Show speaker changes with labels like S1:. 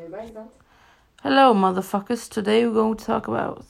S1: Gemeinsam.
S2: Hello, motherfuckers. Today we're going to talk about